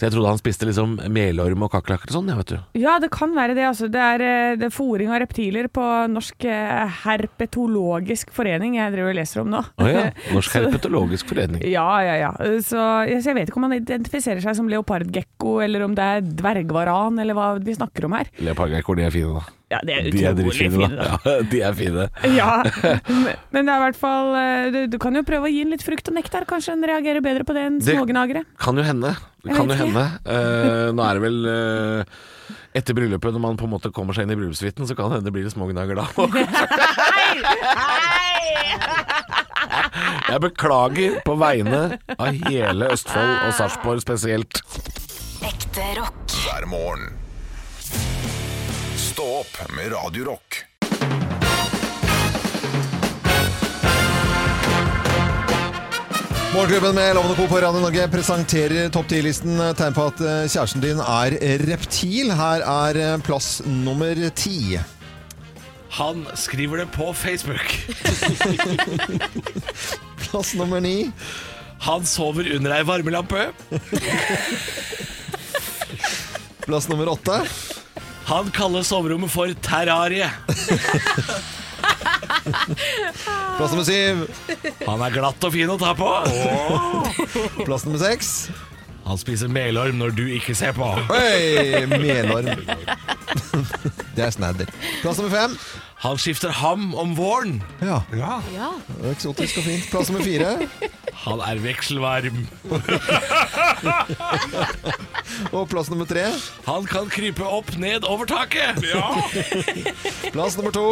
S3: Så jeg trodde han spiste liksom melorm og kakerlakker og sånn, jeg, vet du.
S5: Ja, det kan være det. Altså. Det er, eh, det er fòring av reptiler på Norsk eh, herpetologisk forening jeg driver og leser om nå.
S3: Å ja. Norsk herpetologisk forening.
S5: (laughs) ja, ja, ja. Eh, Så jeg, så jeg vet ikke om han identifiserer seg som leopardgekko, eller om det er dvergvaran, eller hva de snakker om her.
S3: Leopardgeiker, de er fine, da.
S5: Ja, det er
S3: De er
S5: utrolig
S3: dritfine,
S5: fine, da.
S3: da. (laughs) Ja, de er fine.
S5: Ja,
S3: (laughs)
S5: men- men det er i hvert fall eh, du, du kan jo prøve å gi den litt frukt og nektar. Kanskje den reagerer bedre på det enn
S3: Det-
S5: smågnagere.
S3: Kan jo hende. Det kan jo
S5: vet ikke.
S3: hende. Eh, nå er det vel eh, etter bryllupet, når man på en måte kommer seg inn i bryllupssuiten, så kan det hende det blir litt smågnager da.
S5: (laughs)
S3: Jeg beklager på vegne av hele Østfold og Sarpsborg spesielt.
S7: Ekte rock.
S2: hver morgen. Stå opp med Radio Rock.
S8: Morgenklubben med Lovende Co. på Radio Norge presenterer topp 10-listen. Tegn på at eh, kjæresten din er reptil. Her er eh, plass nummer ti.
S3: Han skriver det på Facebook.
S8: Plass nummer ni.
S3: Han sover under ei varmelampe.
S8: Plass nummer åtte.
S3: Han kaller soverommet for terrarie.
S8: Plass nummer syv.
S3: Han er glatt og fin å ta på.
S8: Plass nummer seks.
S3: Han spiser melorm når du ikke ser på.
S8: Oi, melorm. (laughs) Det er snadder. Plass nummer fem.
S3: Han skifter ham om våren.
S8: Ja. Eksotisk og fint. Plass nummer fire.
S3: Han er vekselvarm.
S8: Og plass nummer tre.
S3: Han kan krype opp ned over taket.
S8: Plass nummer to.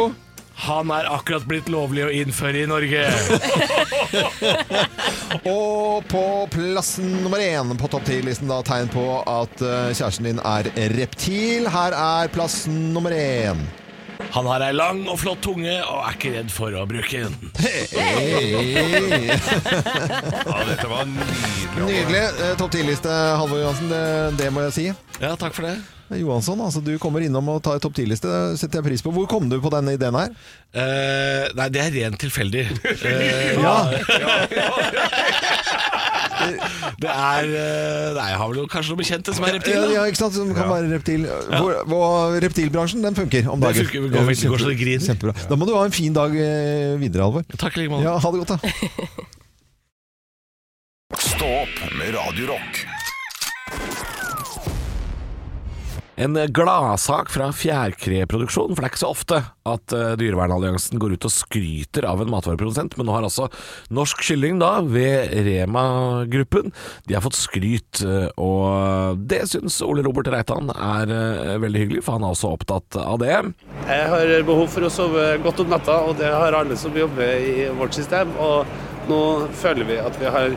S3: Han er akkurat blitt lovlig å innføre i Norge.
S8: Og på plass nummer én på topp ti-listen da tegn på at eh, kjæresten din er reptil. Her er plass nummer én.
S3: Han har ei lang og flott tunge og er ikke redd for å bruke den.
S8: Hey.
S2: Ja, dette var nydelig.
S8: Nydelig. Eh, Topp 10-liste, Halvor Johansen. Det, det må jeg si.
S3: Ja, takk for det.
S8: Johansson, altså, du kommer innom og tar topp 10-liste. Det setter jeg pris på. Hvor kom du på denne ideen her?
S3: Eh, nei, det er rent tilfeldig. Eh, det er eh, Nei, jeg har vel kanskje noen bekjente som er
S8: Ja,
S3: reptiler. da.
S8: ja, ikke sant? Som kan være reptil. Hvor, hvor, reptilbransjen, den funker om dagen.
S3: funker, det går veldig- går så det griner.
S8: Kjempebra. Da må du ha en fin dag eh, videre, Halvor.
S3: Takk i like måte.
S8: Ja, ha det godt, da.
S2: Stå opp med Radio Rock.
S3: En gladsak fra fjærkreproduksjon, for det er ikke så ofte at eh, Dyrevernalliansen går ut og skryter av en matvareprodusent, men nå har altså Norsk Kylling da, ved Rema-gruppen, de har fått skryt, eh, og det syns Ole Robert Reitan er eh, veldig hyggelig, for han er også opptatt av det.
S9: Jeg har behov for å sove godt om natta, og det har alle som jobber i vårt system. Og nå føler vi at vi har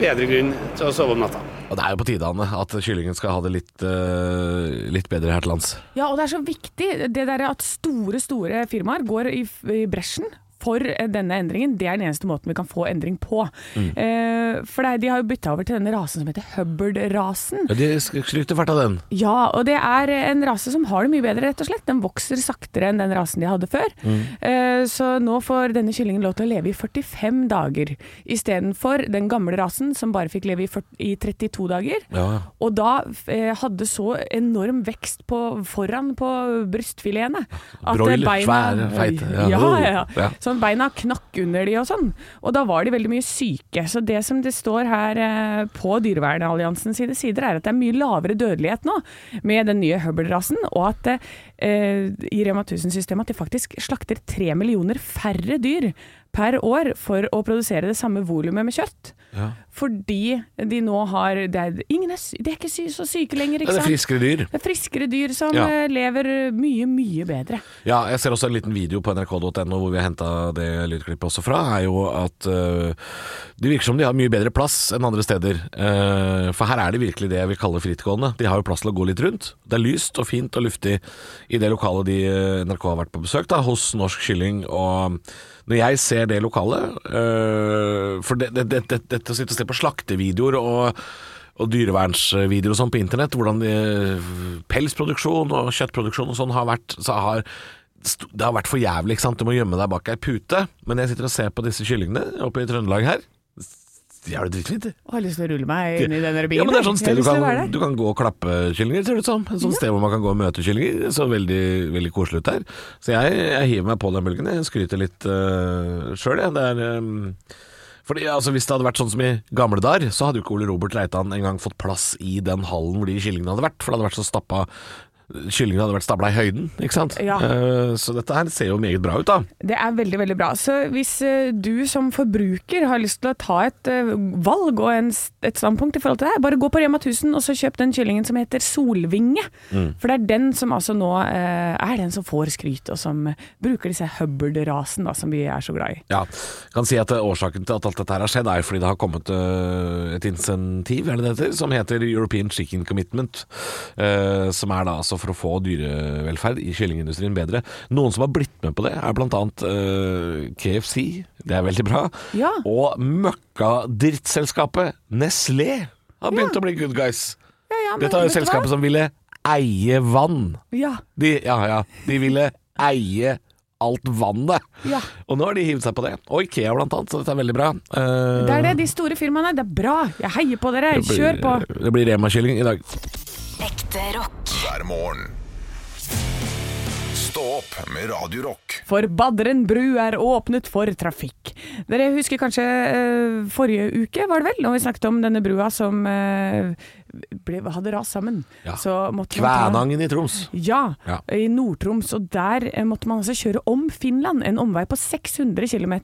S9: bedre grunn til å sove om natta.
S3: Og det er jo på tide, Anne, at kyllingen skal ha det litt, eh, litt bedre her til lands.
S5: Ja, og det er så viktig det der at store, store firmaer går i, i bresjen for eh, denne endringen. Det er den eneste måten vi kan få endring på. Eh, for det, er- de har jo bytta over til denne rasen som heter Hubbard-rasen.
S3: Ja, De sk- skryter fælt av den.
S5: Ja, og det er en rase som har det mye bedre, rett og slett. Den vokser saktere enn den rasen de hadde før. Eh, så nå får denne kyllingen lov til å leve i 45 dager, istedenfor den gamle rasen som bare fikk leve i, 40, i 32 dager.
S3: Ja.
S5: Og da eh, hadde så enorm vekst på, foran på brystfiletene. at
S3: Broiler, svære, feite,
S5: Ja.
S3: ja.
S5: Ja, ja,
S3: Ja.
S5: Sånn beina knakk under de og sånn. Og da var de veldig mye syke. Så det som det står her eh, på Dyrevernalliansen sine sider, er at det er mye lavere dødelighet nå med den nye Hubbard-rasen, og at eh, eh, i Rema 1000-systemet at de faktisk slakter tre millioner færre dyr per år for å produsere det samme volumet med kjøtt. Fordi de nå har Det er, ingen er, sy- de er ikke sy så syke
S3: Ja,
S5: lenger,
S3: det
S5: ikke
S3: er
S5: sant?
S3: friskere dyr.
S5: Det er friskere dyr som
S3: Ja.
S5: eh, lever mye, mye bedre.
S3: Ja, jeg ser også en liten video på nrk.no hvor vi har henta det lydklippet også fra, er jo at øh, det virker som de har mye bedre plass enn andre steder. Eh, for her er det virkelig det jeg vil kalle frittgående. De har jo plass til å gå litt rundt. Det er lyst og fint og luftig i det lokalet de øh, NRK har vært på besøk, da, hos Norsk Kylling. Og eh, når jeg ser det lokalet øh, For det- det- det- det- dette å sitte og se på slaktevideoer og og dyrevernsvideoer og sånn eh, på internett, hvordan de, pelsproduksjon og kjøttproduksjon og sånn har vært, så har st- det har vært for jævlig, ikke sant? Du må gjemme deg bak ei pute. Men jeg sitter og ser på disse kyllingene oppe i Trøndelag her. De har det dritfint, de.
S5: Og har lyst til å rulle meg inn i den
S3: Ja,
S5: revyen.
S3: men det er sånn
S5: Jeg
S3: sted du
S5: har lyst til å
S3: kan,
S5: være der.
S3: du kan gå og klappe kyllinger, ser det ut som. Et sånt sted hvor man kan gå og møte kyllinger. Så veldig, veldig koselig ut der. Så jeg, jeg hiver meg på den bølgen. Jeg skryter litt uh, sjøl, jeg. Det er ehm, fordi altså, Hvis det hadde vært sånn som i gamle dager, så hadde jo ikke Ole Robert Reitan engang fått plass i den hallen hvor de kyllingene hadde vært. For det hadde vært så stappa Kyllingene hadde vært stabla i høyden, ikke sant.
S5: Ja.
S3: Eh, så dette her ser jo meget bra ut, da.
S5: Det er veldig, veldig bra. Så hvis eh, du som forbruker har lyst til å ta et eh, valg og en, s- et standpunkt i forhold til det her, bare gå på Rema 1000 og så kjøp den kyllingen som heter Solvinge.
S3: Mm.
S5: For det er den som altså nå eh, er den som får skryt, og som eh, bruker disse Hubbard-rasen da, som vi er så glad i.
S3: Ja, kan si at eh, Årsaken til at alt dette her har skjedd, er jo fordi det har kommet eh, et insentiv er det det heter, som heter European Chicken Commitment. eh, som er da altså for å få dyrevelferd i kyllingindustrien bedre. Noen som har blitt med på det, er bl.a. Uh, KFC, det er veldig bra.
S5: Ja.
S3: Og møkkadrittselskapet Nestlé har begynt å bli good guys.
S5: Ja, ja, men
S3: Dette er jo
S5: vet du hva?
S3: selskapet som ville eie vann.
S5: Ja.
S3: De, ja, ja, de ville eie alt vannet.
S5: Ja.
S3: Og nå har de hivd seg på det. Og Ikea blant annet, så dette er veldig bra. Eh,
S5: Det er det, de store firmaene. Det er bra. Jeg heier på dere.
S3: det blir-
S5: Kjør på.
S3: Det blir Rema-kylling i dag.
S7: Ekte rock.
S2: hver morgen. Stå opp med Radio Rock.
S5: For Badren bru er åpnet for trafikk. Dere husker kanskje eh, forrige uke, var det vel? Når vi snakket om denne brua som eh, ble, hadde rast sammen.
S3: Ja.
S5: Så måtte man ta-
S3: Kvænangen i Troms.
S5: Ja,
S3: Ja.
S5: i Nord-Troms. Og der eh, måtte man altså kjøre om Finland, en omvei på 600 km,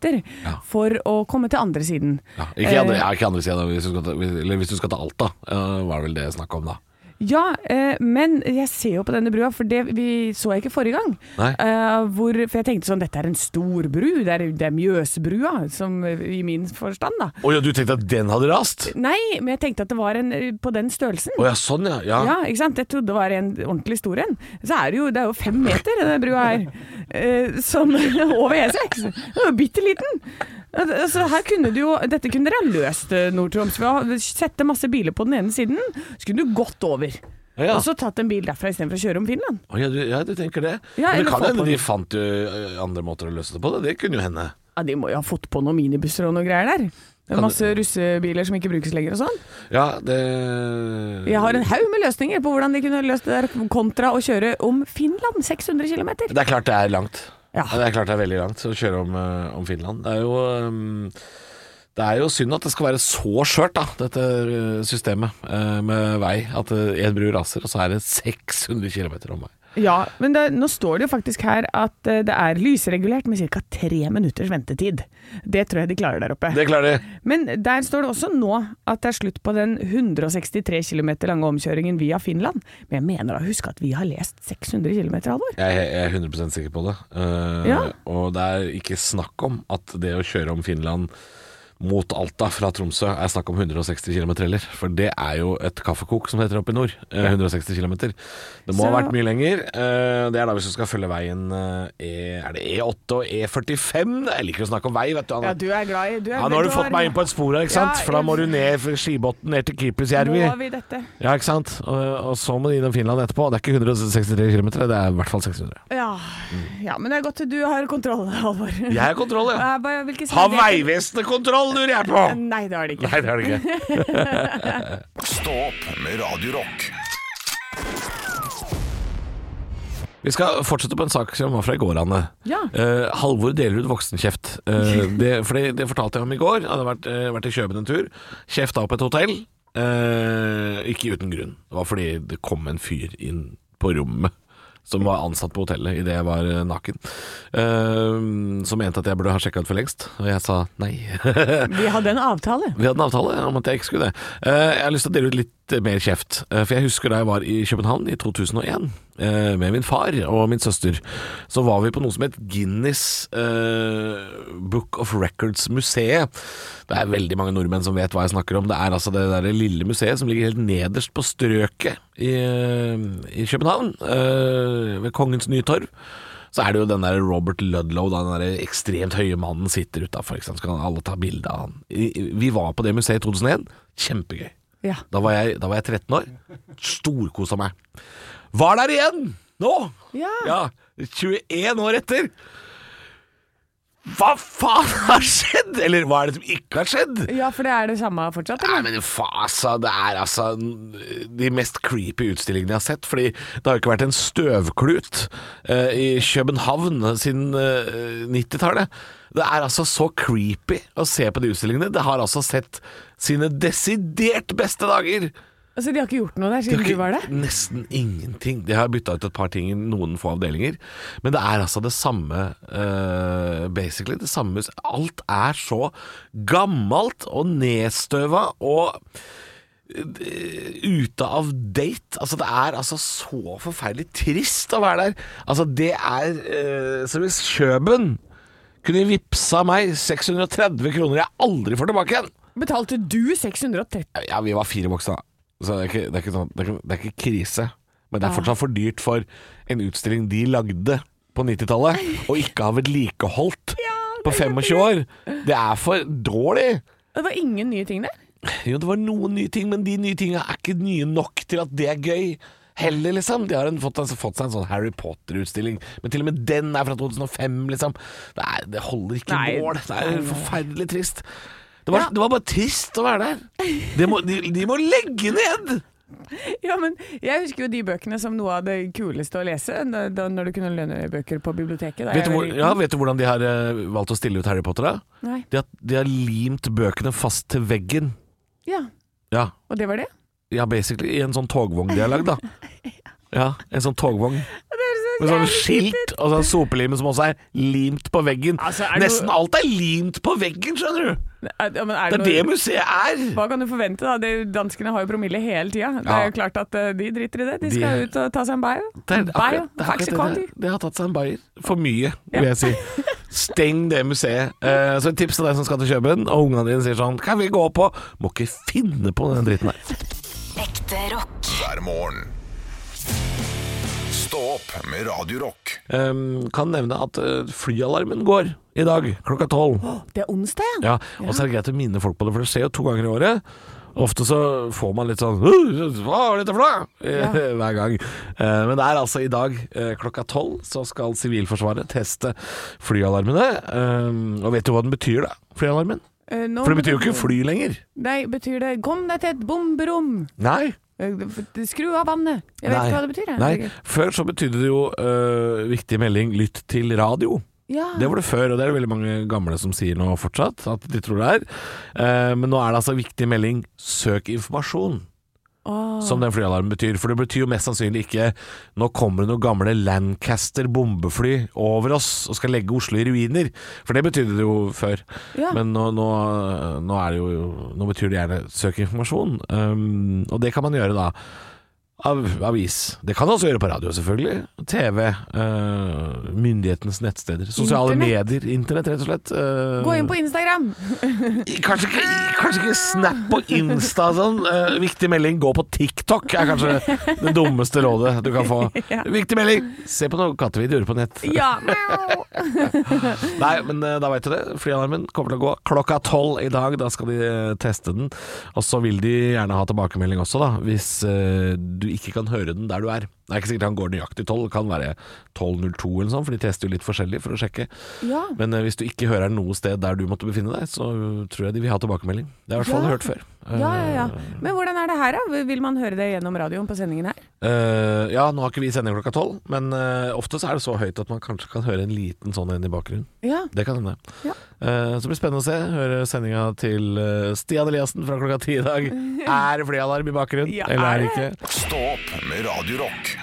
S3: Ja.
S5: for å komme til andre siden.
S3: Ja, ikke, andre,
S5: Eh,
S3: ja, ikke andre sida, hvis, du skal ta- eller hvis du skal til Alta, eh, var vel det snakk om da.
S5: Ja, eh, men jeg ser jo på denne brua, for det vi så jeg ikke forrige gang.
S3: Nei.
S5: Eh, hvor, for jeg tenkte sånn, dette er en stor bru, det er, det er Mjøsbrua, som, eh, i min forstand da.
S3: Å ja, du tenkte at den hadde rast?
S5: Nei, men jeg tenkte at det var en eh, på den størrelsen.
S3: Å ja, sånn ja. ja.
S5: Ja, ikke sant? Jeg trodde det var en ordentlig stor en. Så er det jo, det er jo fem meter, denne brua her. Eh, som (laughs) over E E6. Den var bitte liten. Så her kunne du jo, dette kunne dere ha løst, eh, Nord-Troms. Ved å sette masse biler på den ene siden, så kunne du gått over.
S3: Ja.
S5: Og så tatt en bil derfra istedenfor å kjøre om Finland.
S3: Å, ja, du, ja, du tenker det.
S5: Ja,
S3: Men
S5: eller
S3: det kan
S5: få
S3: hende
S5: på
S3: de
S5: den.
S3: fant jo eh, andre måter å løse det på. Det, det kunne jo hende.
S5: Ja, De må jo ha fått på noen minibusser og noe greier der. Det
S3: Kan
S5: er masse russebiler som ikke brukes lenger og sånn.
S3: Ja, det
S5: Jeg har en haug med løsninger på hvordan de kunne løst det der, kontra å kjøre om Finland 600 km.
S3: Det er klart det er langt.
S5: Ja.
S3: Det er klart det er veldig langt å kjøre om, eh, om Finland. Det er jo ehm, det er jo synd at det skal være så skjørt, da, dette eh, systemet eh, med vei. At én bru raser, og så er det 600 km om vei.
S5: Ja, men det, nå står det jo faktisk her at eh, det er lysregulert med ca. tre minutters ventetid. Det tror jeg de klarer der oppe.
S3: Det klarer de.
S5: Men der står det også nå at det er slutt på den 163 km lange omkjøringen via Finland. Men jeg mener da, husk at vi har lest 600 km, Halvor.
S3: Jeg, er- jeg er 100 sikker på det. Eh,
S5: Ja.
S3: Og det er ikke snakk om at det å kjøre om Finland mot Alta fra Tromsø er snakk om 160 km heller. For det er jo et kaffekok, som det heter oppe i nord. eh, 160 km. Det må
S5: Så-
S3: ha vært mye lenger. Eh, Det er da hvis du skal følge veien eh, E, Er det E8 og E45? Jeg liker å snakke om vei, vet du. Anna.
S5: Ja, du er glad i du er,
S3: Ja, nå har du fått meg inn på et spor her, ikke sant?
S5: Ja,
S3: For da må du
S5: jeg-
S3: ned fra Skibotn, ned til Kipersjärvi.
S5: Må vi dette?
S3: Ja, ikke sant? Og, og så må du innom Finland etterpå. Det er ikke 163 km, det er i hvert fall 600.
S5: Ja. ja, men det er godt du har kontroll, Halvor. (laughs)
S3: Jeg har kontroll, ja.
S5: Eh, hva- hvilke sider-
S3: Har Vegvesenet kontroll, lurer jeg på?
S5: Nei, det har de ikke.
S3: Nei, det har det ikke.
S2: Stå opp med Radio Rock
S3: Vi skal fortsette på en sak som var fra i går, Anne.
S5: Ja.
S3: Eh, Halvor deler ut voksenkjeft. (laughs) Eh, det, for det, det fortalte jeg om i går. Jeg hadde vært, eh, vært i Køben en tur. Kjefta opp et hotell. Eh, ikke uten grunn. Det var fordi det kom en fyr inn på rommet. Som var ansatt på hotellet idet jeg var eh, naken. Eh, som mente at jeg burde ha sjekka ut for lengst. Og jeg sa nei. (laughs)
S5: Vi hadde en avtale.
S3: Vi hadde en avtale om at jeg ikke skulle det. Eh, jeg har lyst til å dele ut litt eh, mer kjeft. Eh, for jeg husker da jeg var i København i 2001 eh, med min far og min søster. Så var vi på noe som het Guinness eh, Book of Records-museet. Det er veldig mange nordmenn som vet hva jeg snakker om. Det er altså det der lille museet som ligger helt nederst på strøket i, eh, i København. eh, ved Kongens Nytorv så er det jo den der Robert Ludlow, da, den der ekstremt høye mannen sitter utafor, så kan alle ta bilde av han. I- i- Vi var på det museet i 2001, kjempegøy.
S5: Ja.
S3: Da var jeg, da var jeg 13 år, storkosa meg. Var der igjen nå!
S5: Ja.
S3: Ja, 21 år etter! Hva faen har skjedd?! Eller hva er det som ikke har skjedd?
S5: Ja, for det er det samme fortsatt,
S3: Nei,
S5: eller?
S3: men faen, altså, det er altså n- de mest creepy utstillingene jeg har sett. Fordi det har jo ikke vært en støvklut eh, i København siden eh, 90-tallet. Det er altså så creepy å se på de utstillingene. Det har altså sett sine desidert beste dager.
S5: Altså, de har ikke gjort noe der
S3: Det
S5: siden
S3: har
S5: du var der?
S3: ikke- Nesten ingenting. De har bytta ut et par ting i noen få avdelinger. Men det er altså det samme eh, Basically det samme hus. Alt er så gammelt og nedstøva og eh, ute av date. Altså Det er altså så forferdelig trist å være der. Altså Det er eh, som hvis Kjøben kunne vippsa meg 630 kroner jeg aldri får tilbake igjen.
S5: Betalte du 630?
S3: Ja, vi var fire voksne, da. Så det er ikke, det er ikke, sånn, det er ikke, det er ikke krise. Men det er fortsatt for dyrt for en utstilling de lagde på 90-tallet, og ikke har vedlikeholdt på 25 år. Det er for dårlig.
S5: Det var ingen nye ting der? (laughs)
S3: Jo, det var noen nye ting, men de nye tingene er ikke nye nok til at det er gøy. Heller, liksom. De har en, fått, en- fått seg en sånn Harry Potter-utstilling, men til og med den er fra 2005, liksom. Det, er, det holder ikke
S5: Nei.
S3: mål. Det er forferdelig trist. Det var, det var bare trist å være der. De må, de, de må legge ned!
S5: Ja, men jeg husker jo de bøkene som noe av det kuleste å lese, da, da, når du kunne lønne bøker på biblioteket. Da
S3: Vet
S5: jeg
S3: du,
S5: var
S3: hvor,
S5: liten.
S3: ja, vet du hvordan de har eh, valgt å stille ut Harry Potter? da?
S5: Nei.
S3: De har, de har limt bøkene fast til veggen.
S5: ja,
S3: Ja,
S5: og det var det?
S3: ja basically. I en sånn togvogn de har
S5: (laughs)
S3: lagd, da. Ja, en sånn togvogn. Med sånn skilt og sånn sopelimen som også er limt på veggen.
S5: Altså, er det
S3: Nesten
S5: noe-
S3: alt er limt på veggen, skjønner du!
S5: Er, ja, men er
S3: Det er
S5: noe-
S3: det museet er!
S5: Hva kan du forvente, da? Det, danskene har jo promille hele tida. Det
S3: Ja.
S5: er jo klart at eh, de driter i det. De
S3: De-
S5: skal ut og ta seg en bayo.
S3: Det er
S5: Bayo,
S3: akkurat- det er akkurat det
S5: Faxicon.
S3: der. Det har tatt seg en bayer. For mye, vil jeg si. Steng det museet. Eh, så et tips til deg som skal til København, og ungene dine sier sånn Kan vi gå på? Må ikke finne på den dritten der.
S7: Ekte rock.
S2: hver morgen. Stå opp med Radio Rock.
S3: um, kan nevne at eh, flyalarmen går i dag klokka tolv.
S5: Det er onsdag, ja.
S3: Ja, og så er det greit å minne folk på det, for det skjer jo to ganger i året. Ofte så får man litt sånn «Åh, Hva var dette for noe? (laughs) Hver gang. Eh, Men det er altså i dag eh, klokka tolv så skal Sivilforsvaret teste flyalarmene. Eh, Og vet du hva den betyr, da? Flyalarmen?
S5: Eh, nå-
S3: For det betyr jo ikke fly lenger.
S5: Nei, betyr det 'kom deg til et bomberom',
S3: Nei.
S5: Eh, f- skru av vannet. Jeg vet
S3: Nei.
S5: ikke hva det betyr. jeg.
S3: Nei. Før så betydde det jo eh, viktig melding 'lytt til radio'.
S5: Ja.
S3: Det var det før, og det er det veldig mange gamle som sier nå fortsatt, at de tror det er. Eh, men nå er det altså viktig melding 'søk informasjon',
S5: Åh.
S3: som den flyalarmen betyr. For det betyr jo mest sannsynlig ikke 'nå kommer det noen gamle Lancaster bombefly over oss og skal legge Oslo i ruiner', for det betydde det jo før.
S5: Ja.
S3: Men nå, nå, nå er det jo Nå betyr det gjerne 'søk informasjon', um, og det kan man gjøre da. Av avis. Det kan du også gjøre på radio, selvfølgelig. TV, eh, myndighetenes nettsteder, sosiale
S5: Internett.
S3: medier, internett, rett og slett. eh,
S5: Gå inn på Instagram!
S3: Kanskje ikke, kanskje ikke Snap og Insta og sånn. Eh, viktig melding, gå på TikTok er kanskje det dummeste rådet du kan få.
S5: (laughs)
S3: Viktig melding, se på noen kattevideoer på nett.
S5: Ja! miau.
S3: Nei, men eh, da veit du det. Flyalarmen kommer til å gå klokka tolv i dag. Da skal de eh, teste den. Og så vil de gjerne ha tilbakemelding også, da, hvis eh, du ikke kan høre den der du er. Det er ikke sikkert han går nøyaktig tolv, det kan være 12.02 eller sånn, for de tester jo litt forskjellig for å sjekke. (laughs)
S5: ja.
S3: Men eh, hvis du ikke hører den noe sted der du måtte befinne deg, så eh, tror jeg de vil ha tilbakemelding. Det har jeg i hvert fall
S5: Ja.
S3: hørt før. Eh,
S5: Ja, ja, ja. Men hvordan er det her, da? Vil man høre det gjennom radioen på sendingen her?
S3: Eh, ja, nå har ikke vi sending klokka tolv, men eh, ofte så er det så høyt at man kanskje kan høre en liten sånn en i bakgrunnen.
S5: Ja.
S3: Det kan hende.
S5: Ja.
S3: Eh, så blir det spennende å se. Høre sendinga til eh, Stian Eliassen fra klokka ti i dag. Er det flyalarm i bakgrunnen,
S5: Ja,
S3: eller er det
S5: er
S3: ikke?
S2: Stå opp med Radio Rock.